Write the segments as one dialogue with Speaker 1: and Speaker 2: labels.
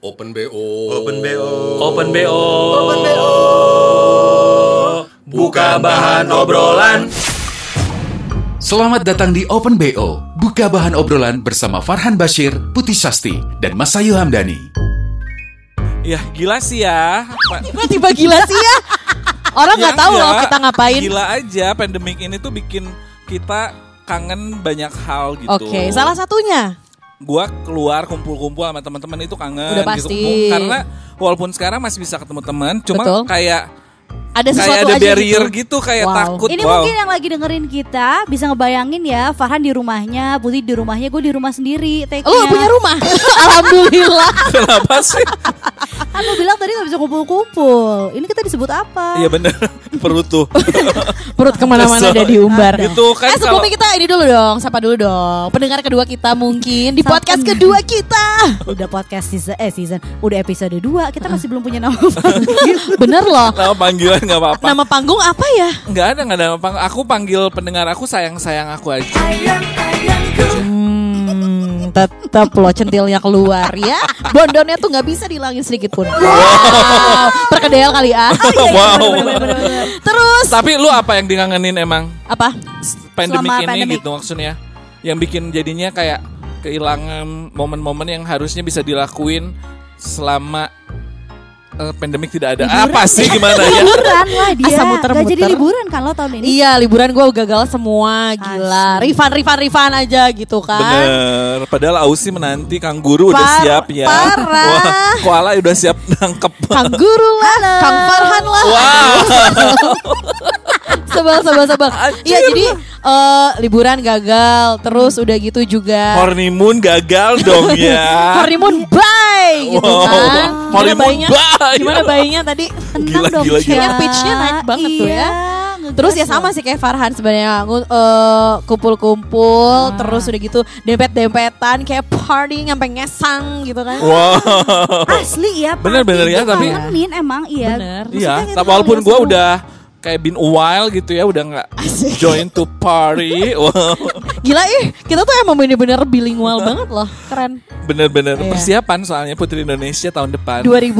Speaker 1: Open BO.
Speaker 2: Open BO.
Speaker 3: Open BO.
Speaker 2: Open BO. Buka bahan obrolan.
Speaker 4: Selamat datang di Open BO, buka bahan obrolan bersama Farhan Bashir, Putih Sasti, dan Mas Ayu Hamdani.
Speaker 3: Ya gila sih ya. Pa-
Speaker 5: Kok tiba gila sih ya? Orang nggak
Speaker 3: Ya,
Speaker 5: tahu
Speaker 3: enggak.
Speaker 5: loh kita ngapain.
Speaker 3: Gila aja pandemik ini tuh bikin kita kangen banyak hal gitu.
Speaker 5: Oke, salah satunya.
Speaker 3: Gua keluar kumpul-kumpul sama teman-teman itu kangen
Speaker 5: Udah
Speaker 3: gitu.
Speaker 5: pasti.
Speaker 3: Mu- Karena walaupun sekarang masih bisa ketemu teman, cuma
Speaker 5: Betul.
Speaker 3: kayak
Speaker 5: Ada
Speaker 3: kayak
Speaker 5: sesuatu
Speaker 3: ada
Speaker 5: aja
Speaker 3: barrier
Speaker 5: gitu.
Speaker 3: gitu, kayak
Speaker 5: Wow.
Speaker 3: takut.
Speaker 6: Ini
Speaker 3: Wow.
Speaker 6: mungkin yang lagi dengerin kita bisa ngebayangin ya Farhan di rumahnya, Putih di rumahnya, gue di rumah sendiri. Take
Speaker 3: ya.
Speaker 5: Lu punya rumah. Alhamdulillah.
Speaker 3: Kenapa sih?
Speaker 6: Kan lu bilang tadi gak bisa kumpul-kumpul. Ini kita disebut apa?
Speaker 3: Iya bener perut tuh.
Speaker 5: Perut kemana-mana udah diumbar.
Speaker 3: Gitu kan
Speaker 5: eh
Speaker 3: kalau
Speaker 5: sebelumnya kita ini dulu dong, sapa dulu dong. Pendengar kedua kita mungkin di
Speaker 6: Sapa.
Speaker 5: podcast kedua kita.
Speaker 6: Udah podcast season, eh season, udah episode 2 kita masih belum punya nama. panggil.
Speaker 5: Bener loh.
Speaker 3: nama panggilan nggak apa-apa.
Speaker 5: Nama panggung apa ya?
Speaker 3: Nggak ada nggak ada nama pang- Aku panggil pendengar aku sayang sayang aku aja.
Speaker 5: Hmm, tetap loh centilnya keluar ya. Bondonnya tuh nggak bisa dihilangin sedikit pun. Wow. Perkedel kali ah.
Speaker 3: Wow.
Speaker 5: Terus
Speaker 3: Tapi lu apa yang dikangenin emang
Speaker 5: apa?
Speaker 3: pandemi
Speaker 6: Selama
Speaker 3: ini
Speaker 6: pandemik.
Speaker 3: gitu maksudnya? Yang bikin jadinya kayak kehilangan momen-momen yang harusnya bisa dilakuin selama eh, pandemik tidak ada. Apa sih gimana ya?
Speaker 6: liburan lah dia.
Speaker 5: Asal muter-muter.
Speaker 6: Gak jadi liburan kan lo tahun ini.
Speaker 5: Iya liburan gue gagal semua gila
Speaker 6: Asli.
Speaker 5: Refund refund refund aja gitu kan
Speaker 3: Bener. Padahal Ausi menanti kangguru udah
Speaker 5: Par-
Speaker 3: siap ya.
Speaker 5: parah.
Speaker 3: Wah, koala udah siap nangkep.
Speaker 5: Kang Guru lah Kang Farhan lah Sebel sebel sebel Iya jadi eh, liburan gagal Terus udah gitu juga
Speaker 3: Honeymoon gagal dong ya.
Speaker 5: Honeymoon bye gitu
Speaker 3: Wow.
Speaker 5: kan Gimana
Speaker 3: Honeymoon
Speaker 5: bayinya-
Speaker 3: bye.
Speaker 5: Gimana bayinya tadi
Speaker 6: Tenang
Speaker 3: Gila,
Speaker 6: dong,
Speaker 3: gila, gila.
Speaker 6: Cia.
Speaker 5: Kayaknya pitch-nya naik banget tuh ya.
Speaker 6: Iya,
Speaker 5: Terus ya
Speaker 6: ngegas
Speaker 5: sama
Speaker 6: loh.
Speaker 5: sih kayak Farhan sebenarnya ngu- eh, kumpul-kumpul terus udah gitu dempet-dempetan kayak party sampai ngesang gitu kan.
Speaker 3: Oh. Wow.
Speaker 6: Asli ya.
Speaker 3: Bener-bener
Speaker 6: pasti
Speaker 3: ya,
Speaker 6: itu
Speaker 3: tapi-
Speaker 6: kangenin emang iya.
Speaker 5: Bener.
Speaker 6: Maksudnya gitu.
Speaker 3: Iya,
Speaker 6: kita
Speaker 3: tapi walaupun
Speaker 6: kangen
Speaker 3: gue
Speaker 6: ya, seru.
Speaker 3: udah kayak been a while gitu ya, udah nggak join to party. Wow,
Speaker 5: Gila ih, kita tuh emang bener-bener bilingual banget loh. Keren.
Speaker 3: bener-bener
Speaker 5: Iya.
Speaker 3: persiapan soalnya Putri Indonesia tahun depan.
Speaker 5: 2000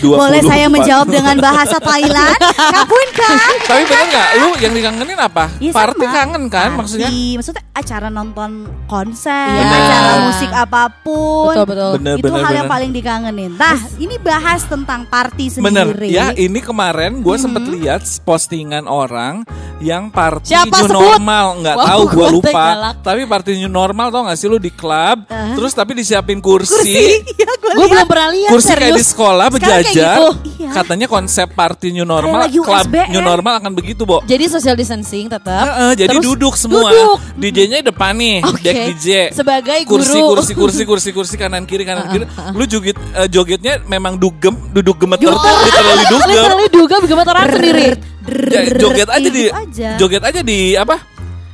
Speaker 3: 24.
Speaker 6: Boleh saya menjawab dengan bahasa Thailand? Kapun kan?
Speaker 3: Tapi bener nggak? Lu yang dikangenin apa?
Speaker 6: Iya,
Speaker 3: party
Speaker 6: sama.
Speaker 3: kangen kan?
Speaker 6: Party.
Speaker 3: Maksudnya
Speaker 6: maksudnya acara nonton konser,
Speaker 5: Iya.
Speaker 6: acara musik apapun.
Speaker 5: Betul betul.
Speaker 3: Bener,
Speaker 6: itu
Speaker 3: bener,
Speaker 6: hal yang
Speaker 3: bener.
Speaker 6: paling dikangenin. Nah, ini bahas tentang party
Speaker 3: Bener,
Speaker 6: sendiri.
Speaker 3: ya ini kemarin
Speaker 6: Mm-hmm.
Speaker 3: gue sempet lihat postingan orang yang party new
Speaker 5: Siapa? Sebut.
Speaker 3: normal nggak
Speaker 5: Wow,
Speaker 3: tahu gue
Speaker 5: konten
Speaker 3: lupa.
Speaker 5: galak.
Speaker 3: Tapi party new normal tau gak sih lu di klub,
Speaker 6: Uh-huh.
Speaker 3: terus tapi disiapin kursi,
Speaker 5: Gue belum pernah lihat
Speaker 3: kursi kayak di
Speaker 5: serius.
Speaker 3: sekolah
Speaker 5: Sekarang kayak
Speaker 3: berjajar.
Speaker 5: gitu.
Speaker 6: Iya.
Speaker 3: Katanya konsep party new normal,
Speaker 6: lagi
Speaker 3: club
Speaker 6: USBN.
Speaker 3: new normal akan begitu, Bo.
Speaker 5: Jadi social distancing tetap.
Speaker 3: Heeh, jadi
Speaker 5: ya? Terus
Speaker 3: duduk semua.
Speaker 5: duduk.
Speaker 3: DJ-nya depan nih,
Speaker 5: Oke.
Speaker 3: deck DJ.
Speaker 5: Sebagai
Speaker 3: kursi,
Speaker 5: guru.
Speaker 3: kursi kursi kursi kursi kanan kiri kanan kiri. Lu joget eh, jogetnya memang dugem, duduk gemeter, literally dugem.
Speaker 5: Literally iya, duga begemaran sendiri.
Speaker 3: Ya, joget aja di
Speaker 6: Ikut iya, gitu aja.
Speaker 3: joget aja di apa?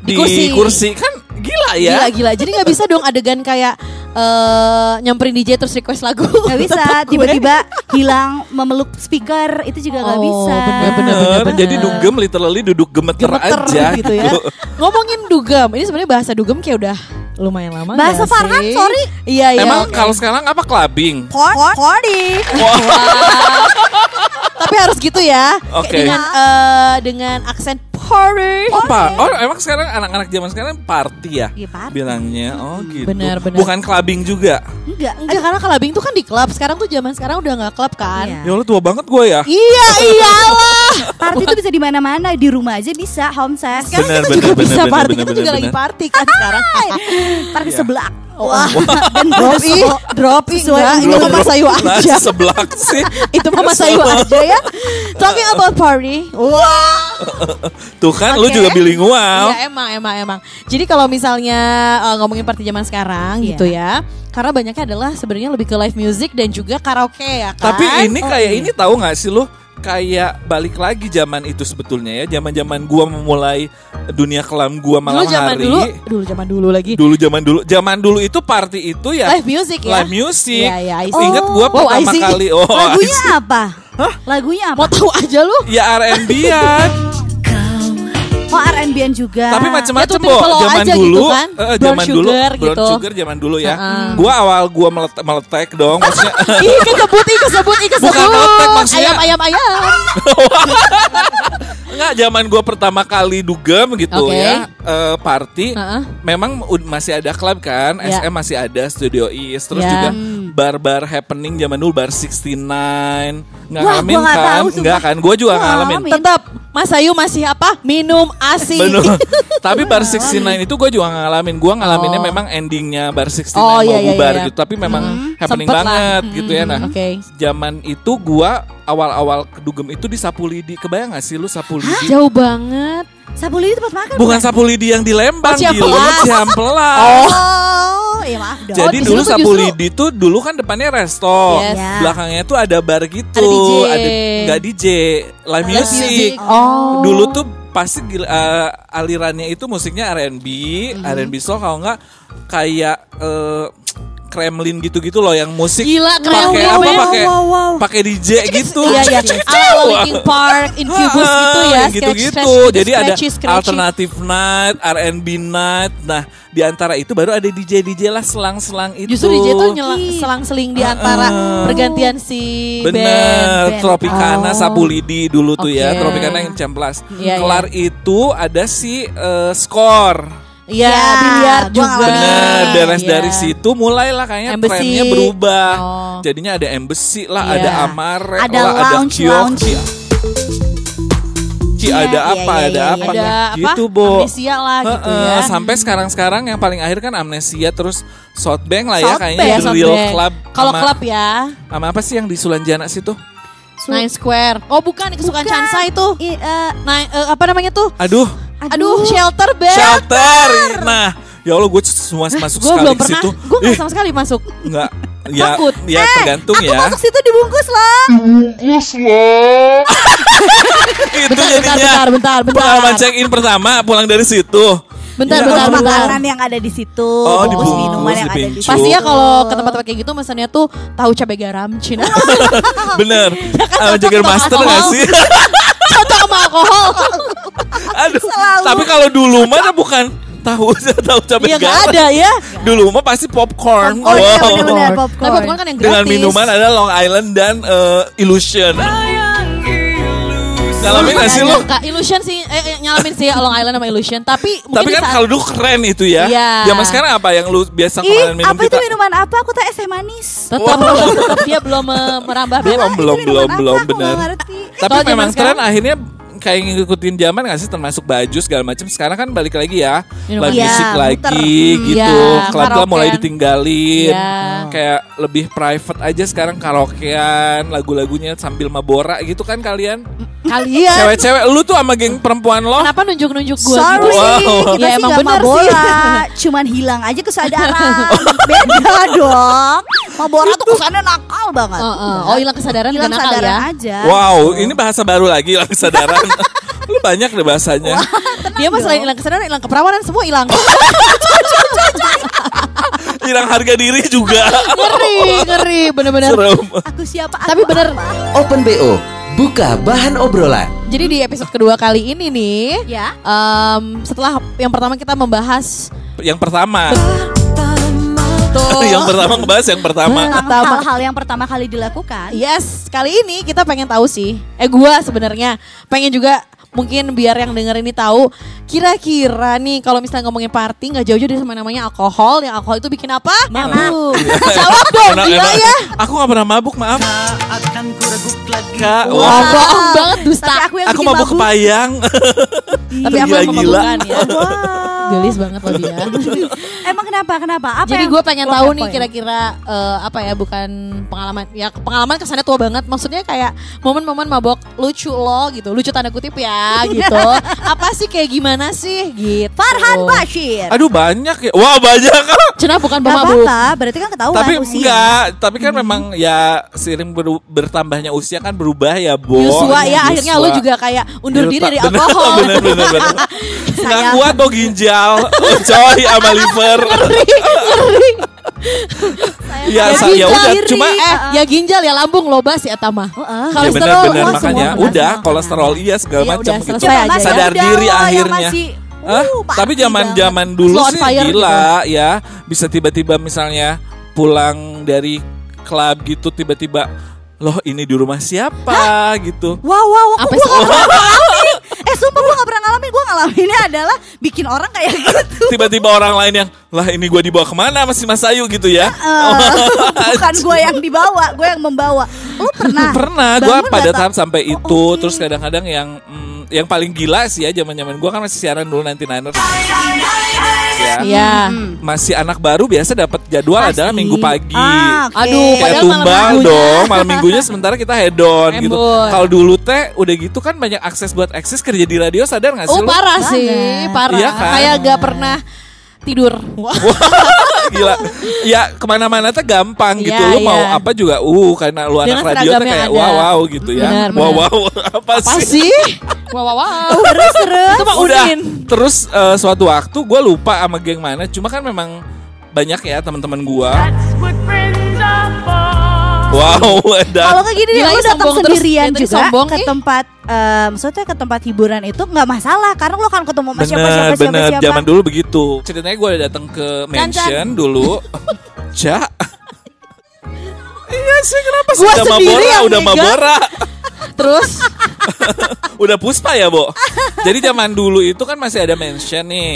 Speaker 3: Di,
Speaker 5: kursi.
Speaker 3: kan gila ya.
Speaker 5: Gila gila. Jadi nggak bisa dong adegan kayak eh, nyamperin DJ terus request lagu.
Speaker 6: Gak bisa
Speaker 5: Tempat gue.
Speaker 6: tiba-tiba hilang memeluk speaker itu juga nggak
Speaker 5: Oh,
Speaker 6: bisa.
Speaker 5: bener-bener.
Speaker 3: Bener, jadi dugem literally duduk gemeter,
Speaker 5: gemeter
Speaker 3: aja
Speaker 5: gitu ya. Ngomongin dugem, ini sebenarnya bahasa dugem kayak udah lumayan lama.
Speaker 6: Bahasa
Speaker 5: nggak
Speaker 6: Farhan,
Speaker 5: sih?
Speaker 6: sorry.
Speaker 5: Iya iya.
Speaker 3: Emang kalau sekarang apa clubbing?
Speaker 6: Por- Party.
Speaker 5: Tapi harus gitu ya. Kayak
Speaker 3: Oke.
Speaker 5: Dengan eh, dengan aksen horror.
Speaker 3: Oh, pa- oh, emang sekarang anak-anak zaman sekarang party ya?
Speaker 6: Iya, party.
Speaker 3: Bilangnya. Oh, gitu.
Speaker 5: Benar, benar.
Speaker 3: Bukan clubbing juga.
Speaker 6: Enggak.
Speaker 5: Enggak karena kelabing tuh kan di klub. Sekarang tuh zaman sekarang udah nggak klub kan.
Speaker 6: Iya.
Speaker 3: Ya Allah tua banget gue ya.
Speaker 5: Iya iyalah.
Speaker 6: Party itu bisa di mana-mana, di rumah aja bisa, home kan? sex,
Speaker 5: Sekarang
Speaker 3: Benar, benar,
Speaker 5: kita kan juga
Speaker 3: benar,
Speaker 5: bisa
Speaker 3: benar,
Speaker 5: party.
Speaker 3: benar,
Speaker 5: kita juga
Speaker 3: benar,
Speaker 5: lagi
Speaker 3: benar.
Speaker 5: party kan sekarang.
Speaker 6: party
Speaker 3: Iya.
Speaker 6: seblak.
Speaker 5: Wah.
Speaker 6: Dan
Speaker 5: drop i,
Speaker 6: bosok.
Speaker 5: drop i,
Speaker 6: Sesuai
Speaker 5: enggak, itu
Speaker 3: Belum-
Speaker 5: mama sayu
Speaker 3: Nah,
Speaker 5: aja.
Speaker 3: sebelak sih.
Speaker 5: itu mama sayu aja ya. Talking about party. Wah.
Speaker 3: Tuh kan lu
Speaker 5: Oke.
Speaker 3: juga bilingual.
Speaker 5: Iya emang emang emang. Jadi kalau misalnya eh, ngomongin party zaman sekarang
Speaker 6: Iya.
Speaker 5: gitu ya, karena banyaknya adalah sebenarnya lebih ke live music dan juga karaoke ya kan.
Speaker 3: Tapi ini kayak ini tahu nggak sih lu? Kayak balik lagi zaman itu sebetulnya ya. Zaman-zaman gua memulai dunia kelam gua
Speaker 5: dulu
Speaker 3: malam
Speaker 5: zaman
Speaker 3: hari.
Speaker 5: dulu, dulu zaman dulu lagi.
Speaker 3: Dulu zaman dulu. Zaman dulu itu party itu ya
Speaker 5: Live music ya.
Speaker 3: live music.
Speaker 5: Iya, iya, I see.
Speaker 3: Ingat gua
Speaker 5: Oh,
Speaker 3: pertama
Speaker 5: I see.
Speaker 3: kali oh I ya,
Speaker 6: Lagunya
Speaker 3: see.
Speaker 6: apa? Lagunya apa?
Speaker 5: Mau tahu aja lu.
Speaker 3: ya R&B-an.
Speaker 6: Oh R&B-an juga.
Speaker 3: Tapi macam-macam
Speaker 5: Ya, tuh
Speaker 3: Bo.
Speaker 5: tipikal lo
Speaker 3: zaman
Speaker 5: aja gitu
Speaker 3: dulu,
Speaker 5: kan.
Speaker 3: eh, eh,
Speaker 5: Brown
Speaker 3: zaman dulu,
Speaker 5: sugar
Speaker 3: brown
Speaker 5: gitu. ah.
Speaker 3: sugar zaman dulu ya.
Speaker 5: Heeh.
Speaker 3: Gua awal gua meletek, meletek dong, maksudnya
Speaker 5: Ih kesebut, ih kesebut, ih kesebut.
Speaker 3: otak maksudnya.
Speaker 5: Ayam, ayam, ayam.
Speaker 3: enggak zaman gua pertama kali dugem gitu
Speaker 5: Oke.
Speaker 3: ya, eh, party.
Speaker 5: Heeh.
Speaker 3: Memang ud- masih ada klub kan,
Speaker 5: Ya.
Speaker 3: SM masih ada Studio Is, terus
Speaker 5: Ya.
Speaker 3: juga bar-bar happening zaman dulu bar 69. Enggak
Speaker 6: Wah,
Speaker 3: ngalamin
Speaker 6: gua nggak
Speaker 3: kan?
Speaker 6: tahu,
Speaker 3: Enggak
Speaker 6: sumpah.
Speaker 3: kan? Gua juga
Speaker 6: Gua
Speaker 3: ngalamin.
Speaker 6: ngalamin.
Speaker 5: Tetap, Mas Ayu masih apa? Minum ASI.
Speaker 3: Bener. tapi bar 69 itu gue juga ngalamin. Gue ngalaminnya
Speaker 5: Oh.
Speaker 3: memang endingnya bar 69
Speaker 5: Oh,
Speaker 3: mau
Speaker 5: iya, iya,
Speaker 3: bubar
Speaker 5: iya.
Speaker 3: gitu. Tapi memang happening
Speaker 5: sempet lah.
Speaker 3: banget
Speaker 5: Hmm,
Speaker 3: gitu ya. Nah,
Speaker 5: oke.
Speaker 3: zaman itu gue awal-awal kedugem itu di Sapu Lidi. Kebayang gak sih lu Sapu Lidi?
Speaker 5: Jauh banget.
Speaker 6: Sapu lidi tempat makan.
Speaker 3: Bukan Sapu Lidi yang di Lembang,
Speaker 5: Oh, Ciampelas.
Speaker 3: Ciampelas.
Speaker 6: Oh.
Speaker 3: Ciampelas.
Speaker 6: ya maaf dong.
Speaker 3: Jadi
Speaker 5: Oh, di situ
Speaker 3: dulu
Speaker 5: tuh
Speaker 3: Sapu
Speaker 5: justru-
Speaker 3: Lidi tuh dulu kan depannya resto,
Speaker 5: Yes.
Speaker 6: Ya.
Speaker 3: belakangnya tuh ada bar gitu,
Speaker 5: Ada DJ.
Speaker 3: nggak DJ, live music.
Speaker 5: Oh.
Speaker 3: Dulu tuh pasti gila- eh, alirannya itu musiknya R&B,
Speaker 5: Mm-hmm.
Speaker 3: R&B soul kalau nggak kayak eh, Kremlin gitu-gitu loh yang musik
Speaker 5: Gila,
Speaker 3: pakai
Speaker 5: Kremlin,
Speaker 3: apa
Speaker 5: men.
Speaker 3: pakai
Speaker 6: Wow, wow.
Speaker 3: pakai DJ gitu.
Speaker 5: Iya, iya.
Speaker 3: Cek, cek, cek.
Speaker 5: Ala Linkin Park, Incubus
Speaker 3: Ah,
Speaker 5: gitu ya.
Speaker 3: yang gitu-gitu.
Speaker 5: scratch,
Speaker 3: Jadi ada
Speaker 5: scratchy, scratchy.
Speaker 3: alternative night, R&B night. Nah, di antara itu baru ada DJ DJ lah selang-selang itu.
Speaker 5: Justru DJ
Speaker 3: gitu.
Speaker 5: tuh nyelang, selang-seling di antara pergantian si band.
Speaker 3: Bener,
Speaker 6: band.
Speaker 3: Tropicana
Speaker 5: Oh.
Speaker 3: Sapu Lidi dulu tuh ya,
Speaker 5: Oke.
Speaker 3: Tropicana yang cemplas.
Speaker 5: Iya,
Speaker 3: Kelar itu ada si eh, skor.
Speaker 5: Iya,
Speaker 6: Ya,
Speaker 5: biliar
Speaker 6: gua
Speaker 5: juga.
Speaker 6: ngalamin.
Speaker 3: Bener, beres
Speaker 5: Iya.
Speaker 3: dari situ mulailah kayaknya
Speaker 5: Embassy.
Speaker 3: trennya berubah.
Speaker 5: Oh.
Speaker 3: Jadinya ada embassy lah,
Speaker 5: Iya.
Speaker 3: ada amare
Speaker 6: Ada
Speaker 3: lah,
Speaker 6: lounge,
Speaker 3: ada kiok.
Speaker 6: lounge.
Speaker 3: Ki- Ki
Speaker 6: Iya,
Speaker 3: ada
Speaker 6: iya,
Speaker 3: apa,
Speaker 6: iya,
Speaker 3: ada
Speaker 6: iya,
Speaker 3: apa.
Speaker 5: Ada apa?
Speaker 3: Gitu, Bo.
Speaker 5: Amnesia lah gitu
Speaker 3: Heeh,
Speaker 5: ya.
Speaker 3: Sampai sekarang-sekarang yang paling akhir kan amnesia terus Southbank lah ya
Speaker 5: South
Speaker 3: kayaknya
Speaker 5: Bank,
Speaker 3: The
Speaker 5: South
Speaker 3: real
Speaker 5: Bank.
Speaker 3: club.
Speaker 5: Kalau
Speaker 3: sama-
Speaker 5: klub ya,
Speaker 3: sama apa sih yang di Sulanjana situ?
Speaker 5: Nine Square. Oh bukan, kesukaan
Speaker 6: Bukan.
Speaker 5: Chansa itu.
Speaker 6: I, eh,
Speaker 5: Nine, eh, apa namanya tuh?
Speaker 3: Aduh,
Speaker 5: Aduh, shelter bed.
Speaker 3: shelter. Nah, ya Allah gue semua masuk
Speaker 5: Gue
Speaker 3: sekali
Speaker 5: Eh, belum
Speaker 3: ke
Speaker 5: pernah.
Speaker 3: situ.
Speaker 5: Gue nggak sama sekali masuk.
Speaker 3: Enggak. Ya,
Speaker 5: Takut.
Speaker 3: ya
Speaker 6: eh,
Speaker 3: tergantung
Speaker 6: aku
Speaker 3: ya.
Speaker 6: masuk situ dibungkus loh.
Speaker 3: Itu
Speaker 5: Bentar, bentar,
Speaker 3: jadinya.
Speaker 5: bentar, ya bentar, bentar.
Speaker 3: Pengalaman check in pertama pulang dari situ.
Speaker 5: Bentar,
Speaker 3: Ya
Speaker 5: bentar,
Speaker 6: Bungkus
Speaker 3: Allah.
Speaker 5: bentar.
Speaker 6: makanan yang ada di situ.
Speaker 3: Oh,
Speaker 6: bungkus
Speaker 3: dibungkus,
Speaker 6: minuman yang ada di
Speaker 3: dibungkus.
Speaker 6: situ.
Speaker 5: Pasti ya
Speaker 3: Oh.
Speaker 5: kalau ke tempat-tempat kayak gitu mesennya tuh tahu cabai garam Cina.
Speaker 3: Bener. Sama Jagger
Speaker 5: sama
Speaker 3: Master gak
Speaker 5: alkohol.
Speaker 3: sih?
Speaker 5: Contoh sama alkohol.
Speaker 3: Aduh. Tapi kalau dulu mana bukan tahu tahu cabai
Speaker 5: Iya nggak
Speaker 3: garam.
Speaker 5: ada ya.
Speaker 3: Dulu mah pasti popcorn.
Speaker 6: Oh iya
Speaker 3: Wow.
Speaker 6: benar-benar popcorn.
Speaker 5: Tapi popcorn kan yang gratis.
Speaker 3: Dengan minuman ada Long Island dan eh, Illusion. Ngalamin gak sih lo?
Speaker 5: Nggak, Illusion sih, eh, eh, nyalamin sih Long Island sama Illusion. Tapi mungkin
Speaker 3: Tapi
Speaker 5: di
Speaker 3: kan
Speaker 5: saat-
Speaker 3: kalau dulu keren itu ya.
Speaker 5: Iya.
Speaker 3: Zaman sekarang apa yang lu
Speaker 6: Ih,
Speaker 3: biasa kemarin minum
Speaker 6: apa itu
Speaker 3: kita?
Speaker 6: minuman apa? Aku tak es teh manis.
Speaker 5: tetap,
Speaker 3: Wow.
Speaker 5: tetap, tetap dia belum eh, merambah
Speaker 3: Belum,
Speaker 5: beda.
Speaker 3: belum,
Speaker 6: Itu
Speaker 3: belum,
Speaker 6: minuman apa?
Speaker 3: belum,
Speaker 6: Aku nggak
Speaker 3: benar.
Speaker 6: ngerti.
Speaker 3: Tapi
Speaker 5: Kalau zaman
Speaker 3: memang tren
Speaker 5: sekarang?
Speaker 3: akhirnya kayak ngikutin zaman gak sih termasuk baju segala macam sekarang kan balik lagi ya live
Speaker 5: Minuman.
Speaker 6: Iya,
Speaker 3: musik
Speaker 6: muter.
Speaker 3: lagi
Speaker 5: Hmm,
Speaker 3: gitu
Speaker 5: iya,
Speaker 3: klub-klub mulai
Speaker 5: karaokean.
Speaker 3: ditinggalin Hmm,
Speaker 5: Iya.
Speaker 3: kayak lebih private aja sekarang karaokean lagu-lagunya sambil mabora gitu kan kalian
Speaker 5: Kalian
Speaker 3: cewek-cewek lu tuh sama geng perempuan lo
Speaker 5: Hmm. kenapa nunjuk-nunjuk gue
Speaker 6: Sorry,
Speaker 5: gitu?
Speaker 3: Wow.
Speaker 6: kita
Speaker 5: Ya,
Speaker 6: sih
Speaker 5: emang
Speaker 6: gak
Speaker 5: benar
Speaker 6: bola, cuman hilang aja kesadaran. Beda dong. Mabora tuh kesannya nakal banget.
Speaker 5: Heeh. Oh hilang kesadaran
Speaker 6: hilang
Speaker 5: nggak nakal
Speaker 6: kesadaran
Speaker 5: ya.
Speaker 6: aja.
Speaker 3: wow ini bahasa baru lagi lah kesadaran lu banyak deh bahasanya
Speaker 5: Dia mah selain hilang kesadaran, hilang keperawanan semua hilang.
Speaker 3: hilang harga diri juga
Speaker 5: ngeri, ngeri, bener-bener.
Speaker 3: serem
Speaker 6: Aku siapa?
Speaker 5: Tapi
Speaker 6: aku
Speaker 5: bener,
Speaker 6: apa?
Speaker 1: Open BO, buka bahan obrolan.
Speaker 5: jadi di episode kedua kali ini nih,
Speaker 6: Ya.
Speaker 5: em, setelah yang pertama kita membahas
Speaker 3: yang pertama
Speaker 5: tuh
Speaker 3: yang pertama ngebahas yang pertama
Speaker 5: Pertama.
Speaker 6: Hal-hal yang pertama kali
Speaker 5: Iya.
Speaker 6: dilakukan.
Speaker 5: Yes, kali ini kita pengen tahu sih. Eh gua sebenarnya pengen juga mungkin biar yang denger ini tahu kira-kira nih kalau misalnya ngomongin party nggak jauh-jauh dari sama namanya alkohol. Yang alkohol itu bikin apa? Mabuk.
Speaker 3: Iya.
Speaker 5: Jawab dong,
Speaker 3: Emang-
Speaker 5: gila
Speaker 3: emang-
Speaker 5: ya.
Speaker 3: Aku gak pernah mabuk, maaf. Kak,
Speaker 5: Wow,
Speaker 3: wah,
Speaker 5: bohong banget dusta.
Speaker 6: Tapi aku yang
Speaker 3: aku
Speaker 6: bikin
Speaker 3: mabuk kepayang.
Speaker 5: Tapi aku yang
Speaker 3: Gila-gila.
Speaker 5: memabukan ya.
Speaker 6: Wow.
Speaker 5: Gelis banget loh dia.
Speaker 6: Emang kenapa? Kenapa? Apa
Speaker 5: Jadi
Speaker 6: yang-
Speaker 5: gue pengen
Speaker 6: lo
Speaker 5: tahu
Speaker 6: kepoin?
Speaker 5: nih kira-kira eh, apa ya bukan pengalaman ya pengalaman kesannya tua banget maksudnya kayak momen-momen mabok lucu lo gitu lucu tanda kutip ya gitu apa sih kayak gimana sih gitu
Speaker 6: Farhan Bashir.
Speaker 3: Aduh banyak ya. Wah banyak.
Speaker 5: Cina bukan
Speaker 6: Gak
Speaker 5: pemabuk
Speaker 6: apa-apa, berarti kan
Speaker 5: Oh,
Speaker 6: ketahuan
Speaker 3: tapi
Speaker 6: usia.
Speaker 3: enggak. Tapi
Speaker 5: Hmm.
Speaker 3: kan memang ya sering beru- bertambahnya usia kan berubah ya, Bo.
Speaker 5: Yusua
Speaker 3: Yusua.
Speaker 5: ya akhirnya lo juga kayak
Speaker 3: Iya,
Speaker 5: undur diri dari
Speaker 3: Bener,
Speaker 5: alkohol
Speaker 3: Bener, bener, bener. Nggak
Speaker 6: Sayang.
Speaker 3: kuat tuh ginjal, coy, sama liver.
Speaker 5: Ngeri, ngeri.
Speaker 3: Ya, sa- ya udah, cuma-
Speaker 5: eh ya ginjal ya lambung loba sih eta mah.
Speaker 6: Heeh.
Speaker 3: Ya
Speaker 5: Kolesterol
Speaker 3: benar-benar
Speaker 5: wah, semua
Speaker 3: makanya
Speaker 5: kena
Speaker 3: udah
Speaker 6: semua.
Speaker 3: kolesterol iya segala
Speaker 5: Nah, Ya
Speaker 3: macam
Speaker 5: udah,
Speaker 3: gitu.
Speaker 5: selesai aja ya.
Speaker 3: sadar diri
Speaker 6: Udah, lo yang
Speaker 3: akhirnya.
Speaker 6: masih,
Speaker 3: Hah?
Speaker 6: uh, party
Speaker 3: tapi zaman
Speaker 6: banget.
Speaker 3: zaman dulu
Speaker 5: Slow on
Speaker 3: sih
Speaker 5: fire
Speaker 6: gitu
Speaker 3: gila ya bisa tiba-tiba misalnya pulang dari klub gitu tiba-tiba loh ini di rumah siapa gitu
Speaker 6: Wow, wow, wow,
Speaker 5: Apa
Speaker 6: apa
Speaker 5: sih?
Speaker 6: gua gak pernah ngalamin. Eh, sumpah gua gak pernah ngalamin. Gua ngalaminnya adalah bikin orang kayak gitu.
Speaker 3: tiba-tiba orang lain yang lah ini gua dibawa kemana masih Mas Ayu gitu ya
Speaker 6: Eh, bukan gua yang dibawa, gua yang membawa. Lu pernah?
Speaker 3: pernah
Speaker 6: Ah,
Speaker 3: gua
Speaker 6: Bangun
Speaker 3: pada
Speaker 6: gak, Pak?
Speaker 3: tahap sampai
Speaker 6: Oh,
Speaker 3: itu
Speaker 6: oke.
Speaker 3: terus kadang-kadang yang mm, yang paling gila sih ya zaman-zaman gua kan masih siaran dulu nanti Niners ya.
Speaker 5: Iya.
Speaker 6: Hmm.
Speaker 3: masih anak baru biasa dapat jadwal
Speaker 6: Pasti.
Speaker 3: adalah minggu pagi
Speaker 6: Ah, oke.
Speaker 5: Aduh,
Speaker 3: kayak
Speaker 5: Padahal malam
Speaker 3: tumbang
Speaker 5: minggunya.
Speaker 3: dong malam minggunya sementara kita head on
Speaker 5: Embun.
Speaker 3: gitu kalau dulu teh udah gitu kan banyak akses buat akses kerja di radio sadar nggak sih
Speaker 5: Oh
Speaker 3: lu?
Speaker 5: parah
Speaker 6: Banget.
Speaker 5: sih, parah.
Speaker 3: Iya kan?
Speaker 5: Kayak gak pernah tidur.
Speaker 3: Wah, gila ya kemana-mana teh gampang gitu
Speaker 5: Iya,
Speaker 3: lu mau
Speaker 5: iya.
Speaker 3: apa juga uh karena lu anak
Speaker 5: Dengan
Speaker 3: radio teh
Speaker 5: seragamnya
Speaker 3: kayak
Speaker 5: ada.
Speaker 3: wow wow gitu ya
Speaker 5: Benar,
Speaker 3: wow
Speaker 5: benar.
Speaker 3: wow apa,
Speaker 5: Apa
Speaker 3: sih
Speaker 5: sih? wow wow wow. Terus terus. Itu mah
Speaker 3: udah
Speaker 5: udin.
Speaker 3: terus eh, suatu waktu gue lupa sama geng mana cuma kan memang banyak ya teman-teman gua wow ada
Speaker 6: Kalau nggak gini deh,
Speaker 5: Gila,
Speaker 6: lu
Speaker 5: ih,
Speaker 6: datang
Speaker 5: sombong terus,
Speaker 6: sendirian
Speaker 5: dia tadi
Speaker 6: juga
Speaker 5: sombong,
Speaker 6: ke
Speaker 5: ih.
Speaker 6: tempat, eh, maksudnya ke tempat hiburan itu nggak masalah, karena lo kan ketemu sama siapa siapa
Speaker 3: Bener,
Speaker 6: siapa
Speaker 3: bener.
Speaker 6: siapa. Iya.
Speaker 3: Zaman dulu begitu. Ceritanya gue datang ke mansion dulu. Cak. Iya sih kenapa sih?
Speaker 5: Gua
Speaker 3: udah
Speaker 5: sendiri
Speaker 3: Mabora,
Speaker 5: yang
Speaker 3: udah
Speaker 5: megang.
Speaker 3: Mabora.
Speaker 5: Terus
Speaker 3: udah Puspa ya, Bo. Jadi zaman dulu itu kan masih ada mansion nih.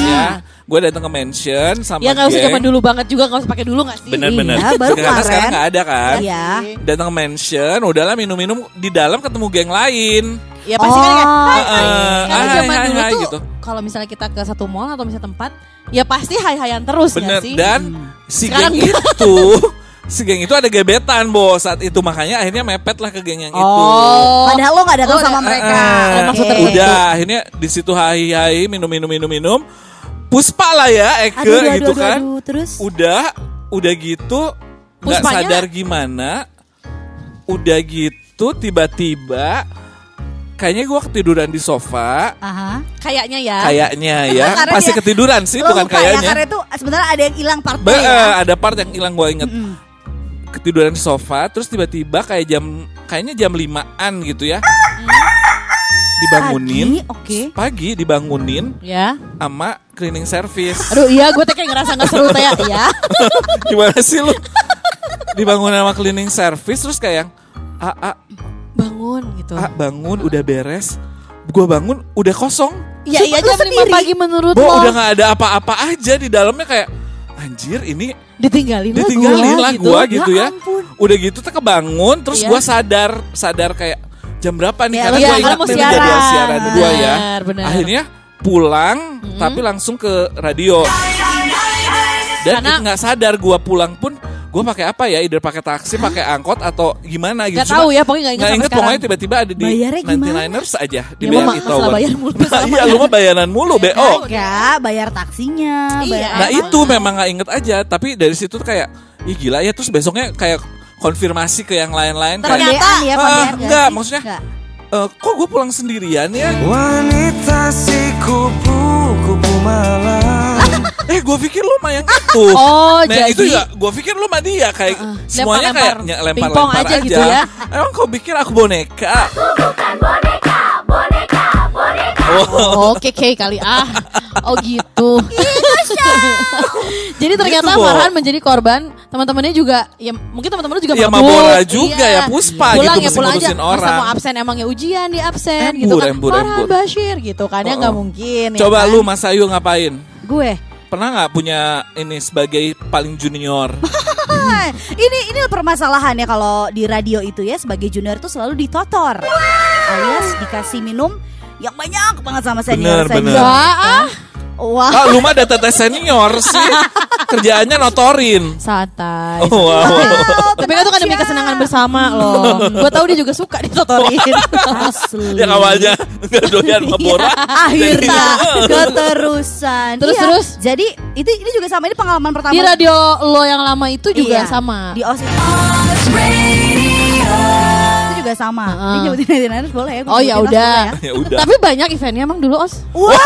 Speaker 3: Ya, gue datang ke mansion sama
Speaker 5: Hmm. ya nggak usah
Speaker 3: geng.
Speaker 5: zaman dulu banget juga nggak usah pakai dulu nggak sih?
Speaker 3: Bener-bener.
Speaker 6: Iya, baru
Speaker 3: Karena sekarang
Speaker 6: kemarin.
Speaker 3: nggak ada kan.
Speaker 6: Iya.
Speaker 3: Datang ke mansion, udahlah minum-minum di dalam ketemu geng lain.
Speaker 5: Ya pasti kan kayak,
Speaker 6: Oh.
Speaker 5: hai, hai.
Speaker 3: Eh,
Speaker 5: Karena
Speaker 3: hai,
Speaker 5: zaman
Speaker 3: hai,
Speaker 5: dulu
Speaker 3: hai,
Speaker 5: tuh
Speaker 3: gitu.
Speaker 5: kalau misalnya kita ke satu mall atau misalnya tempat, ya pasti hai-haian terus nggak
Speaker 6: Iya
Speaker 3: Bener
Speaker 5: sih?
Speaker 3: dan
Speaker 6: Hmm.
Speaker 3: si
Speaker 5: Sekarang
Speaker 3: geng itu si geng itu ada gebetan bos saat itu makanya akhirnya mepet lah ke geng yang itu.
Speaker 5: Oh.
Speaker 6: Padahal lo nggak datang
Speaker 5: Oh,
Speaker 6: sama
Speaker 5: udah.
Speaker 6: mereka.
Speaker 3: Eh,
Speaker 5: Oh, maksudnya
Speaker 6: Oke.
Speaker 3: udah akhirnya di situ hai hai minum minum minum minum puspa lah ya Eke
Speaker 6: Aduh, aduh,
Speaker 3: gitu
Speaker 6: aduh,
Speaker 3: kan.
Speaker 6: aduh, terus?
Speaker 3: Udah udah gitu nggak
Speaker 5: Puspanya-
Speaker 3: sadar gimana. Udah gitu tiba-tiba kayaknya gua ketiduran di sofa.
Speaker 6: Aha.
Speaker 5: Kayaknya ya.
Speaker 3: Kayaknya ya
Speaker 6: Karena
Speaker 3: pasti
Speaker 6: dia-
Speaker 3: ketiduran sih
Speaker 6: Lo
Speaker 3: bukan
Speaker 6: lupa ya,
Speaker 3: kan kayaknya.
Speaker 6: karena itu sebenarnya ada yang hilang part
Speaker 3: Be-
Speaker 6: B ya.
Speaker 3: eh, ada part yang hilang gue inget ketiduran di sofa terus tiba-tiba kayak jam kayaknya jam limaan gitu ya dibangunin
Speaker 6: Pagi, oke.
Speaker 3: pagi dibangunin
Speaker 5: Ya.
Speaker 3: sama cleaning service
Speaker 5: Aduh iya gue tuh kayak ngerasa nggak seru teh ya.
Speaker 3: gimana sih lu dibangunin sama cleaning service terus kayak a a
Speaker 5: Bangun gitu.
Speaker 3: a ah, bangun udah beres gue bangun udah kosong
Speaker 5: Iya
Speaker 6: Sumpah, lu
Speaker 5: iya jam lima
Speaker 6: sendiri.
Speaker 5: pagi menurut
Speaker 3: bo
Speaker 5: lo.
Speaker 3: udah nggak ada apa-apa aja di dalamnya kayak anjir ini
Speaker 5: Ditinggalin, lah
Speaker 3: ditinggalin
Speaker 5: Iya, gua
Speaker 3: lah
Speaker 5: gitu.
Speaker 3: gua gitu ya.
Speaker 6: ampun.
Speaker 3: Udah gitu tuh kebangun terus
Speaker 5: Iya.
Speaker 3: gua sadar sadar kayak jam berapa nih
Speaker 6: Ya,
Speaker 3: karena
Speaker 5: iya,
Speaker 3: gua
Speaker 5: karena
Speaker 3: ingat
Speaker 5: mau
Speaker 3: nih
Speaker 5: siaran.
Speaker 3: jadwal siaran gua ya.
Speaker 5: Benar, benar.
Speaker 3: Akhirnya pulang tapi langsung ke radio. Dan
Speaker 5: Karena-
Speaker 3: itu nggak sadar gua pulang pun gua pakai apa ya? Either pakai taksi, pakai angkot atau gimana gitu.
Speaker 5: Nggak tahu ya, pokoknya nggak
Speaker 3: Nggak
Speaker 5: ingat sampai
Speaker 3: ingat
Speaker 5: sekarang.
Speaker 3: pokoknya tiba-tiba ada di
Speaker 6: Bayarnya gimana?
Speaker 3: 99ers aja di
Speaker 5: Ya, mama,
Speaker 3: BRI
Speaker 5: masalah
Speaker 3: Tower.
Speaker 5: bayar mulu, masalah
Speaker 3: Iya, lu mah bayaran mulu, Oh, BO.
Speaker 6: Enggak, bayar taksinya.
Speaker 5: Iya.
Speaker 6: bayar
Speaker 3: Nah
Speaker 6: apa.
Speaker 3: itu memang nggak inget aja, tapi dari situ tuh kayak, ih gila ya. Terus besoknya kayak konfirmasi ke yang lain-lain. kayak,
Speaker 6: Kondean ya,
Speaker 3: Ah,
Speaker 6: kondean nggak
Speaker 3: enggak,
Speaker 6: sih?
Speaker 3: maksudnya-
Speaker 6: Enggak.
Speaker 3: "Eh, kok gue pulang sendirian ya?
Speaker 2: Wanita si kupu-kupu malam
Speaker 3: Eh gue pikir lu mah yang itu. nah
Speaker 5: Oh, jadi- Ah,
Speaker 3: itu juga gue pikir lu mah dia kayak semuanya
Speaker 5: lempar-lempar.
Speaker 3: kayak ny- lempar-lempar
Speaker 5: Pingpong aja
Speaker 3: aja.
Speaker 5: gitu ya.
Speaker 3: Emang kau pikir aku boneka?
Speaker 5: Oh, Oke, oke kali ah. Oh gitu. Jadi ternyata
Speaker 3: Gitu, Bo.
Speaker 5: Farhan menjadi korban teman-temannya juga ya mungkin teman-temannya juga
Speaker 3: Ya,
Speaker 5: mabuk.
Speaker 3: Mabora juga ya, Puspa
Speaker 5: pulang
Speaker 3: gitu,
Speaker 5: ya
Speaker 3: mesti
Speaker 5: pulang aja.
Speaker 3: ngurusin
Speaker 5: Masa
Speaker 3: orang.
Speaker 5: mau absen emang ya ujian di
Speaker 3: Embur,
Speaker 5: absen gitu kan.
Speaker 3: embur,
Speaker 5: Farhan
Speaker 3: embur.
Speaker 5: Bashir gitu kan ya nggak mungkin. ya
Speaker 3: Coba
Speaker 5: kan?
Speaker 3: lu Mas Ayu ngapain?
Speaker 6: Gue.
Speaker 3: Pernah nggak punya ini sebagai paling junior?
Speaker 6: Hai, ini ini permasalahannya kalau di radio itu ya sebagai junior itu selalu ditotor. Alias dikasih minum yang banyak banget sama senior
Speaker 3: Bener,
Speaker 6: senior.
Speaker 3: bener.
Speaker 5: Wah, ah.
Speaker 6: Wah.
Speaker 3: ah, lu mah ada teteh senior sih. Kerjaannya notorin.
Speaker 5: santai.
Speaker 3: Oh, wow.
Speaker 5: Tapi kan itu kan demi
Speaker 6: ya.
Speaker 5: kesenangan bersama loh. Gue tahu dia juga suka ditotorin.
Speaker 6: Asli. Iya,
Speaker 3: yang awalnya nggak doyan sama Iya. bola
Speaker 6: Akhirnya keterusan.
Speaker 5: Terus,
Speaker 6: Iya,
Speaker 5: terus.
Speaker 6: Jadi itu ini juga sama ini pengalaman pertama.
Speaker 5: di radio lo yang lama itu juga
Speaker 6: Iya,
Speaker 5: sama.
Speaker 6: Di OS. Itu juga sama.
Speaker 5: Heeh.
Speaker 6: Ini nyebutin Niners boleh ya? Gua
Speaker 5: Oh ya
Speaker 6: nyebutin OS
Speaker 5: udah.
Speaker 6: boleh ya?
Speaker 3: ya udah
Speaker 5: Tapi banyak eventnya emang dulu os.
Speaker 6: Wah,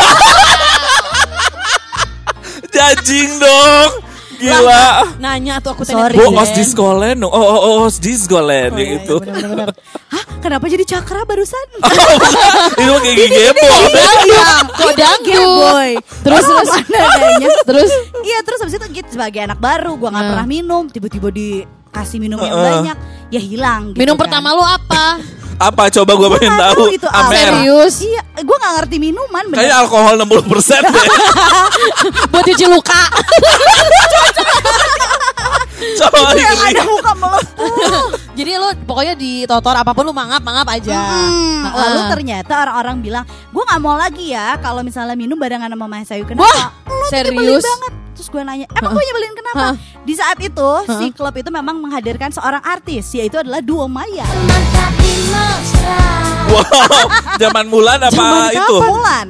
Speaker 3: Judging dong. Gila.
Speaker 5: Nanya tuh aku
Speaker 6: Sorry.
Speaker 5: tanya.
Speaker 3: Boos di sekolah, no. Oh, oh, oh, os di sekolah,
Speaker 6: Oh,
Speaker 3: yang
Speaker 6: iya,
Speaker 3: itu.
Speaker 6: iya, benar, benar, benar. Hah, kenapa jadi cakra barusan?
Speaker 3: Ah, itu mah kayak gebo.
Speaker 5: Iya, kok dangdut.
Speaker 6: Ah, Boy.
Speaker 5: Terus,
Speaker 6: Oh,
Speaker 5: terus.
Speaker 6: mana adanya?
Speaker 5: Terus
Speaker 6: Iya, terus habis itu gitu sebagai anak baru, gua nggak
Speaker 5: Nah.
Speaker 6: pernah minum, tiba-tiba dikasih minum yang
Speaker 3: Heeh.
Speaker 6: banyak, ya hilang. Gitu
Speaker 5: minum
Speaker 6: kan.
Speaker 5: pertama lu apa?
Speaker 3: Apa coba gue
Speaker 6: Gua
Speaker 3: pengen
Speaker 6: nggak
Speaker 3: tahu.
Speaker 6: itu apa.
Speaker 3: Amer.
Speaker 5: Serius?
Speaker 6: Iya, gua nggak ngerti minuman. bener.
Speaker 3: Kayaknya alkohol 60% deh.
Speaker 5: Buat cuci luka.
Speaker 3: Coba
Speaker 6: Itu yang
Speaker 3: ini.
Speaker 6: ada muka melepuh.
Speaker 5: Jadi lu pokoknya di totor apapun lu mangap mangap aja.
Speaker 6: Hmm,
Speaker 5: Heeh.
Speaker 6: Lalu ternyata orang-orang bilang, gue nggak mau lagi ya kalau misalnya minum barengan sama Mas Ayu kenapa?
Speaker 5: Wah,
Speaker 6: Lu tuh nyebelin
Speaker 5: serius.
Speaker 6: banget. Terus gue nanya, emang gue nyebelin kenapa?
Speaker 5: Hah?
Speaker 6: Di saat itu si klub itu memang menghadirkan seorang artis, yaitu adalah Duo Maya.
Speaker 3: Wow, zaman Mulan apa itu?
Speaker 6: Mulan.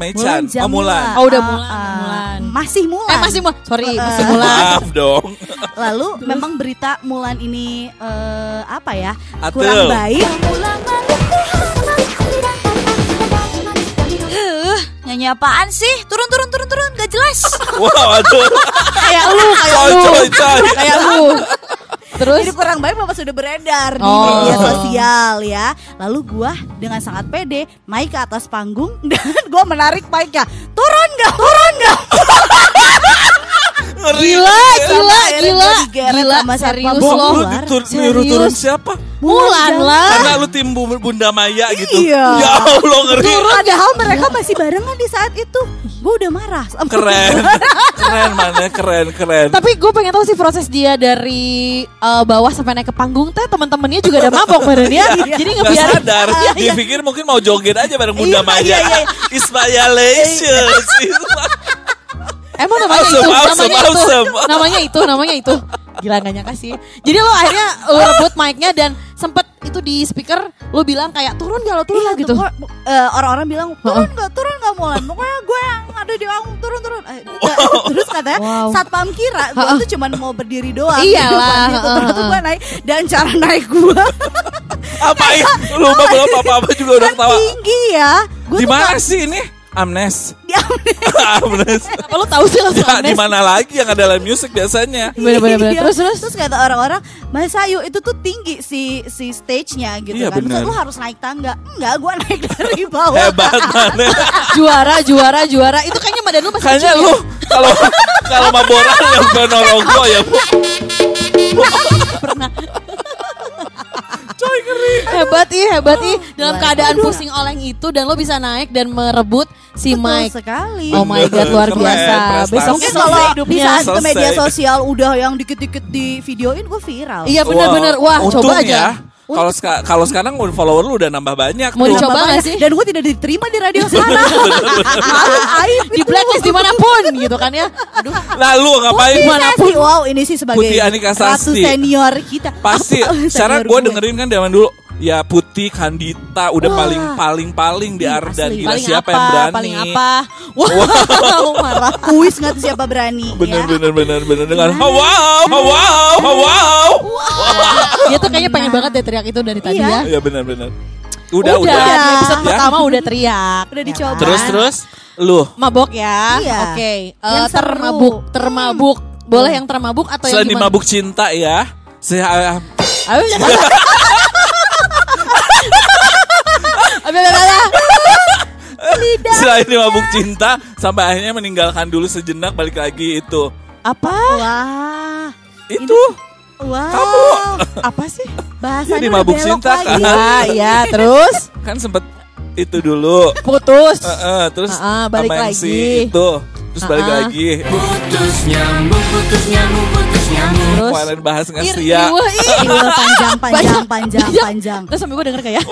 Speaker 3: Mechan, oh
Speaker 6: Jamulan.
Speaker 3: Mulan.
Speaker 5: Oh, udah
Speaker 6: Ah,
Speaker 5: Mulan,
Speaker 6: ah.
Speaker 5: Mulan.
Speaker 6: Masih Mulan.
Speaker 5: Eh masih mau, sorry masih
Speaker 6: Heeh.
Speaker 5: mulai.
Speaker 3: Maaf dong.
Speaker 6: Lalu memang berita Mulan ini eh, apa ya?
Speaker 3: Atul.
Speaker 6: Kurang baik.
Speaker 7: Eh, nyanyi apaan sih? Turun, turun, turun, turun, gak jelas.
Speaker 3: Wow, aduh.
Speaker 5: Kayak lu, kayak
Speaker 3: Coy,
Speaker 5: lu,
Speaker 3: coy, coy.
Speaker 5: kayak lu. Terus
Speaker 6: Jadi kurang baik memang sudah beredar di
Speaker 5: Oh.
Speaker 6: media sosial ya. Lalu gua dengan sangat pede naik ke atas panggung dan gua menarik mic-nya. Turun nggak? Turun nggak?
Speaker 3: Ngeri.
Speaker 5: gila, gila,
Speaker 6: akhirnya
Speaker 5: gila,
Speaker 6: gua digeret
Speaker 5: gila,
Speaker 6: sama satpam
Speaker 5: serius
Speaker 3: Bo,
Speaker 5: lo.
Speaker 3: lu
Speaker 6: Keluar.
Speaker 3: ditur- nyuruh
Speaker 5: Serius.
Speaker 3: turun siapa?
Speaker 5: Mulan lah.
Speaker 3: Karena lu tim Bu- Bunda Maya gitu.
Speaker 6: Iya.
Speaker 3: Ya Allah ngeri.
Speaker 6: Padahal mereka
Speaker 5: Iya.
Speaker 6: masih barengan di saat itu. Gua udah marah. Iya, sama-
Speaker 3: Keren. Keren mana? Keren, keren.
Speaker 5: Tapi gue pengen tahu sih proses dia dari eh, bawah sampai naik ke panggung teh teman-temannya juga ada mabok badannya. Jadi
Speaker 3: Gak
Speaker 5: ngebiarin
Speaker 3: Iya, sadar, dia pikir mungkin mau joget aja bareng Bunda
Speaker 6: Iya,
Speaker 3: Maya.
Speaker 6: iya, iya.
Speaker 3: It's
Speaker 5: Iya,
Speaker 3: violations.
Speaker 5: Emang namanya
Speaker 3: Awesome,
Speaker 5: itu,
Speaker 3: awesome,
Speaker 5: namanya itu,
Speaker 3: awesome.
Speaker 5: namanya itu, namanya itu. Gila gak nyangka sih. Jadi lo akhirnya lo rebut mic-nya dan sempet itu di speaker lo bilang kayak turun gak lo turun
Speaker 6: Iya
Speaker 5: nggak?" gitu.
Speaker 6: gitu. orang-orang bilang turun nggak, turun nggak Mulan. Pokoknya gue yang ada di panggung turun turun. Eh, nggak. Terus katanya
Speaker 5: Wow. Iya,
Speaker 6: satpam kira gue tuh cuman mau berdiri doang.
Speaker 5: Iyalah,
Speaker 6: Di depan itu. Ternyata gue naik dan cara naik gue
Speaker 3: apa ini? Lu mah belum apa-apa juga udah
Speaker 6: kan
Speaker 3: ketawa.
Speaker 6: tinggi ya. Gue
Speaker 3: Di mana
Speaker 5: kan-
Speaker 3: sih ini? Amnes. Amnes.
Speaker 5: Apa lo tahu sih langsung
Speaker 3: Ya, di
Speaker 5: amnes?
Speaker 3: mana lagi yang ada live music biasanya?
Speaker 5: Bener-bener.
Speaker 6: Iya.
Speaker 5: Terus, terus.
Speaker 6: kata orang-orang, Mas Ayu itu tuh tinggi si si stage-nya gitu
Speaker 3: Iya,
Speaker 6: kan. Masa
Speaker 3: bener.
Speaker 6: lu harus naik tangga. Enggak, gua naik dari bawah.
Speaker 3: Hebat mana?
Speaker 5: Juara, juara, juara. Itu kayaknya badan lo masih
Speaker 3: Kayaknya
Speaker 5: kecil
Speaker 3: lu
Speaker 5: ya?
Speaker 3: kalau kalau maboran yang benorogo ya bu.
Speaker 5: Hebat ih, hebat
Speaker 6: Oh,
Speaker 5: ih. Dalam
Speaker 6: Luar
Speaker 5: keadaan pusing oleng itu dan lo bisa naik dan merebut si
Speaker 6: Betul
Speaker 5: mic.
Speaker 6: sekali.
Speaker 5: Oh my god, luar
Speaker 3: Keren,
Speaker 5: biasa.
Speaker 3: prestasi.
Speaker 5: Besoknya
Speaker 6: Mungkin
Speaker 5: selesai
Speaker 6: kalau di
Speaker 5: hidupnya.
Speaker 6: saat itu
Speaker 3: Selesai.
Speaker 6: media sosial udah yang dikit-dikit di videoin gue viral.
Speaker 5: Iya benar-benar.
Speaker 3: Wow,
Speaker 5: Wah,
Speaker 3: untung
Speaker 5: coba aja.
Speaker 3: ya. Kalau seka- kalau sekarang follower lu udah nambah banyak
Speaker 5: Mau
Speaker 3: tuh.
Speaker 5: dicoba
Speaker 6: Bapaknya,
Speaker 5: nggak sih?
Speaker 6: Dan gue tidak diterima di radio sana. Aib
Speaker 5: Di blacklist dimanapun gitu kan ya. Aduh.
Speaker 3: Lalu ngapain?
Speaker 6: Manapun. Wow ini sih sebagai
Speaker 3: Putih Anika
Speaker 6: ratu
Speaker 3: Sasti.
Speaker 6: senior kita.
Speaker 3: Pasti.
Speaker 6: Apa-
Speaker 3: Sekarang
Speaker 6: senior
Speaker 3: gue dengerin kan zaman dulu. Ya Putih, Kandita udah
Speaker 6: Wah.
Speaker 3: paling paling paling di
Speaker 6: Ih,
Speaker 3: Ardan
Speaker 6: asli.
Speaker 3: gila
Speaker 5: Iya, paling
Speaker 3: siapa
Speaker 5: apa,
Speaker 3: yang berani?
Speaker 5: paling apa. Wah, marah.
Speaker 6: Kuis nggak tuh siapa berani
Speaker 3: Bener
Speaker 5: Iya.
Speaker 6: ya.
Speaker 3: bener bener bener dengan wow wow wow.
Speaker 5: Dia tuh kayaknya pengen banget deh teriak itu dari tadi
Speaker 6: Nah. Iya.
Speaker 5: ya.
Speaker 3: Iya bener bener. Udah udah.
Speaker 5: di episode
Speaker 3: Ya.
Speaker 5: pertama udah teriak.
Speaker 6: Udah
Speaker 5: ya
Speaker 6: dicoba.
Speaker 5: kan?
Speaker 3: Terus terus lu
Speaker 5: Mabok ya.
Speaker 6: Iya.
Speaker 5: Oke. Eh,
Speaker 6: Yang seru. Hmm.
Speaker 5: termabuk, termabuk. Boleh yang termabuk atau
Speaker 3: selain
Speaker 5: yang
Speaker 3: di
Speaker 5: gimana?
Speaker 3: mabuk cinta ya. Saya
Speaker 5: Aduh, jangan. Aduh, aduh, aduh, aduh.
Speaker 3: Selain dia mabuk cinta sampai akhirnya meninggalkan dulu sejenak balik lagi itu.
Speaker 5: Apa?
Speaker 6: Wah.
Speaker 3: Itu
Speaker 6: Wow.
Speaker 3: Kamu.
Speaker 5: Apa sih?
Speaker 6: Bahasanya
Speaker 3: Jadi
Speaker 6: udah
Speaker 3: mabuk
Speaker 6: belok
Speaker 3: cinta,
Speaker 6: lagi.
Speaker 3: kan?
Speaker 5: Ya, ya, terus
Speaker 3: kan sempet itu dulu.
Speaker 5: putus.
Speaker 3: Eh, eh, terus
Speaker 5: Ah, ah, balik
Speaker 3: sama yang
Speaker 5: lagi.
Speaker 3: si itu terus balik
Speaker 5: Ah, ah.
Speaker 3: lagi.
Speaker 5: terus
Speaker 3: Kemarin bahas ya? dengan
Speaker 5: Ir-
Speaker 3: Sia.
Speaker 5: iwe, ih.
Speaker 6: Ih, udah panjang, panjang, panjang,
Speaker 5: ya. Iya.
Speaker 6: panjang.
Speaker 5: Terus sambil gue denger kayak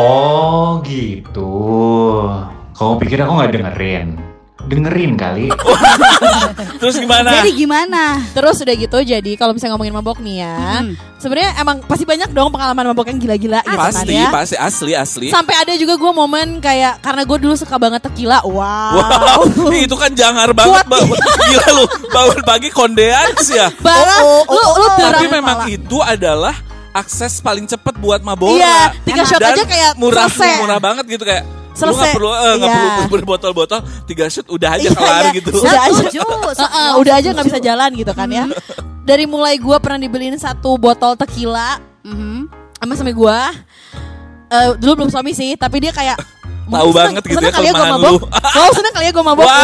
Speaker 8: Oh gitu. Kamu pikir aku nggak dengerin? Dengerin kali.
Speaker 3: Terus gimana?
Speaker 6: Jadi gimana?
Speaker 5: Terus udah gitu jadi kalau misalnya ngomongin mabok nih ya
Speaker 6: Hmm.
Speaker 5: sebenarnya emang pasti banyak dong pengalaman mabok yang gila-gila gitu kan
Speaker 3: pasti,
Speaker 5: ya
Speaker 3: pasti asli asli.
Speaker 5: Sampai ada juga gue momen kayak Karena gue dulu suka banget tequila Wow,
Speaker 3: Wow, ih, itu kan jangar banget.
Speaker 5: Kuat.
Speaker 3: Bau- Gila lu, bangun pagi kondean sih ya.
Speaker 5: Parah
Speaker 6: Oh, oh,
Speaker 5: Lu,
Speaker 6: oh,
Speaker 5: lu
Speaker 6: oh.
Speaker 5: derang
Speaker 3: Tapi memang
Speaker 5: kepala.
Speaker 3: itu adalah akses paling cepat buat Mabora. Kan
Speaker 5: Iya, tiga shot
Speaker 3: Dan
Speaker 5: aja kayak
Speaker 3: murah
Speaker 5: selesai.
Speaker 3: murah banget gitu kayak Lu nggak
Speaker 5: Selesai.
Speaker 3: perlu eh, nggak
Speaker 5: Iya.
Speaker 3: perlu berbotol-botol tiga shoot udah aja
Speaker 5: Iya,
Speaker 3: kelar
Speaker 5: iya.
Speaker 3: gitu.
Speaker 5: Udah aja.
Speaker 6: Setuju, Mm-hmm.
Speaker 5: Heeh, udah aja nggak bisa jalan gitu kan ya. Dari mulai gue pernah dibeliin satu botol tequila
Speaker 6: Mhm.
Speaker 5: sama suami gue. Eh dulu belum suami sih, tapi dia kayak
Speaker 3: Tahu banget gitu ya
Speaker 5: kali gue
Speaker 3: kelemahan
Speaker 5: mabok.
Speaker 3: lu.
Speaker 5: Oh seneng kali ya gue mabok.
Speaker 3: Wah,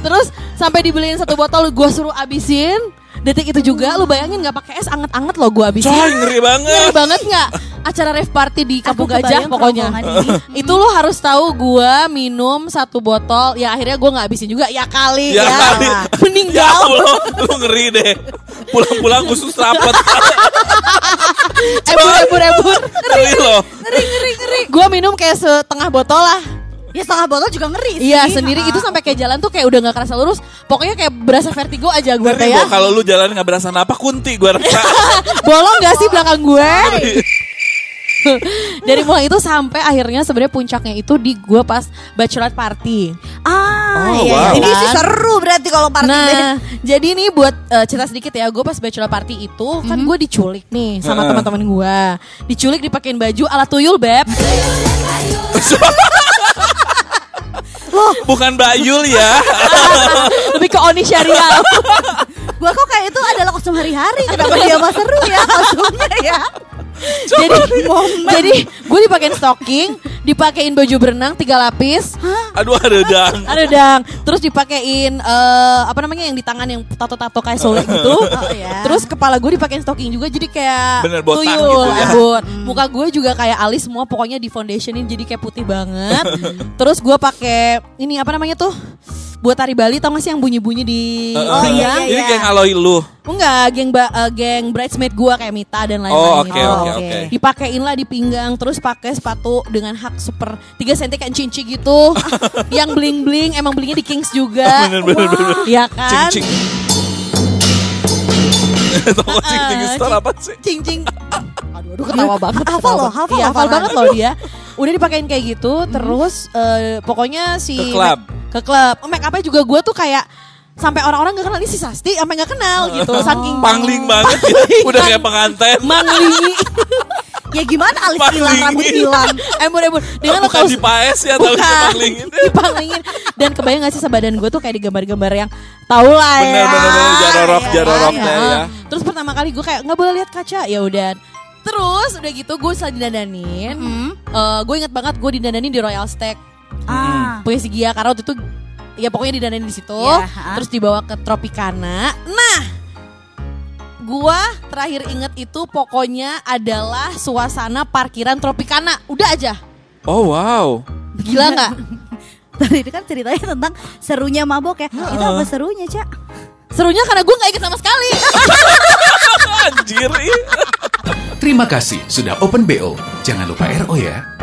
Speaker 5: Terus sampai dibeliin satu botol gue suruh abisin. Detik itu juga lu bayangin nggak pakai es anget-anget loh gue
Speaker 3: coy
Speaker 5: abisin.
Speaker 3: ngeri
Speaker 5: Ngeri
Speaker 3: banget.
Speaker 5: banget nggak acara rave party di Kampung
Speaker 6: kebayang
Speaker 5: Gajah pokoknya.
Speaker 6: kerongkongan ini.
Speaker 5: Itu lo harus tahu gua minum satu botol, ya akhirnya gua nggak habisin juga. Ya kali
Speaker 3: Ya
Speaker 5: ya.
Speaker 3: kali. Ya
Speaker 5: Meninggal.
Speaker 3: Allah, lu ngeri deh. Pulang-pulang khusus rapet.
Speaker 5: Ebur, ebur, ebur.
Speaker 3: Ngeri loh.
Speaker 5: Ngeri, ngeri, ngeri. Gua minum kayak setengah botol lah.
Speaker 6: Ya setengah botol juga ngeri sih.
Speaker 5: Iya sendiri
Speaker 6: Ah.
Speaker 5: itu sampai kayak jalan tuh kayak udah nggak kerasa lurus. Pokoknya kayak berasa vertigo aja gue
Speaker 3: Ngeri
Speaker 5: teh ya.
Speaker 3: Bo, kalau lu jalan nggak berasa napa kunti gua rasa.
Speaker 5: Bolong gak sih belakang gue? Dari mulai itu sampai akhirnya sebenarnya puncaknya itu di gue pas bachelorette party.
Speaker 6: Ah,
Speaker 3: Oh,
Speaker 6: iya.
Speaker 3: wow.
Speaker 6: Ini sih seru berarti kalau party band.
Speaker 5: nah, jadi nih buat eh, cerita sedikit ya, gue pas bachelor party itu kan gue diculik nih sama
Speaker 3: Heeh.
Speaker 5: teman-teman gue, diculik dipakein baju ala tuyul beb.
Speaker 3: Bukan Bayul ya.
Speaker 5: Lebih ke Oni Syariah.
Speaker 6: Gua kok kayak itu adalah kostum hari-hari kenapa dia mah seru ya kostumnya ya.
Speaker 5: jadi, jadi gue dipakein stocking, dipakein baju berenang tiga lapis,
Speaker 3: Aduh ada dang.
Speaker 5: ada dang, terus dipakein eh, apa namanya yang di tangan yang tato-tato kayak solek gitu.
Speaker 6: iya.
Speaker 5: Terus kepala gue dipakein stocking juga, jadi kayak
Speaker 3: Bener, botak
Speaker 5: tuyul,
Speaker 3: gitu ya.
Speaker 5: abut. Muka gue juga kayak alis semua, pokoknya di foundationin jadi kayak putih banget.
Speaker 3: Hmm.
Speaker 5: terus gue pakai ini apa namanya tuh? Buat tari Bali tau gak sih yang bunyi-bunyi di
Speaker 6: Oh, iya, iya,
Speaker 3: Ini
Speaker 6: iya.
Speaker 3: kayak ngaloi lu.
Speaker 5: Enggak, geng ba- eh, geng bridesmaid gua kayak Mita dan lain-lain.
Speaker 3: Oh,
Speaker 5: gitu.
Speaker 6: oke,
Speaker 3: oke,
Speaker 5: Oh,
Speaker 3: oke.
Speaker 5: Dipakein lah di pinggang, terus pakai sepatu dengan hak super 3 cm kayak cinci gitu. yang bling-bling, emang blingnya di Kings juga.
Speaker 3: Oh, Bener, bener,
Speaker 5: Wah,
Speaker 3: bener.
Speaker 5: Iya kan?
Speaker 3: Cing cing. Toko cing cing store apa sih?
Speaker 5: Cing-cing. Aduh, aduh ketawa banget.
Speaker 6: Hafal
Speaker 5: ketawa
Speaker 6: loh,
Speaker 5: banget.
Speaker 6: hafal,
Speaker 5: Iya, hafal
Speaker 6: hafalan.
Speaker 5: banget loh dia. Udah dipakein kayak gitu, terus eh, pokoknya si
Speaker 3: Hmm. Ke klub.
Speaker 5: ke klub. Oh, make upnya juga gue tuh kayak sampai orang-orang gak kenal ini si Sasti, sampai gak kenal gitu. Saking
Speaker 3: Pangling banget ya. Udah kayak pengantin.
Speaker 5: manglingi
Speaker 6: Ya gimana alis
Speaker 3: Pas
Speaker 6: hilang, rambut
Speaker 3: dingin.
Speaker 6: hilang.
Speaker 5: embur embur dengan lo
Speaker 3: Bukan
Speaker 5: kalau
Speaker 3: di paes ya atau di
Speaker 5: kan Bukan. Iya.
Speaker 3: panglingin.
Speaker 5: dipanglingin dan kebayang gak sih sebadan gue tuh kayak digambar-gambar yang tau lah ya
Speaker 3: Bener bener bener jarorok
Speaker 6: iya,
Speaker 3: jarorok
Speaker 6: iya.
Speaker 3: deh ya.
Speaker 5: terus pertama kali gue kayak nggak boleh lihat kaca ya udah terus udah gitu gue setelah didadanin
Speaker 6: Hmm?
Speaker 5: eh, gue inget banget gue didadanin di Royal Steak
Speaker 6: Ah.
Speaker 5: punya si Gia karena waktu itu ya pokoknya didanain di situ
Speaker 6: Ya, ha.
Speaker 5: terus dibawa ke Tropicana nah gua terakhir inget itu pokoknya adalah suasana parkiran Tropicana udah aja
Speaker 3: Oh wow.
Speaker 5: gila nggak
Speaker 6: Tadi kan ceritanya tentang serunya mabok ya. Itu apa
Speaker 5: Ah.
Speaker 6: serunya, Cak?
Speaker 5: serunya karena gua nggak inget sama sekali
Speaker 3: Anjir. ih.
Speaker 4: Terima kasih sudah open BO. Jangan lupa RO ya.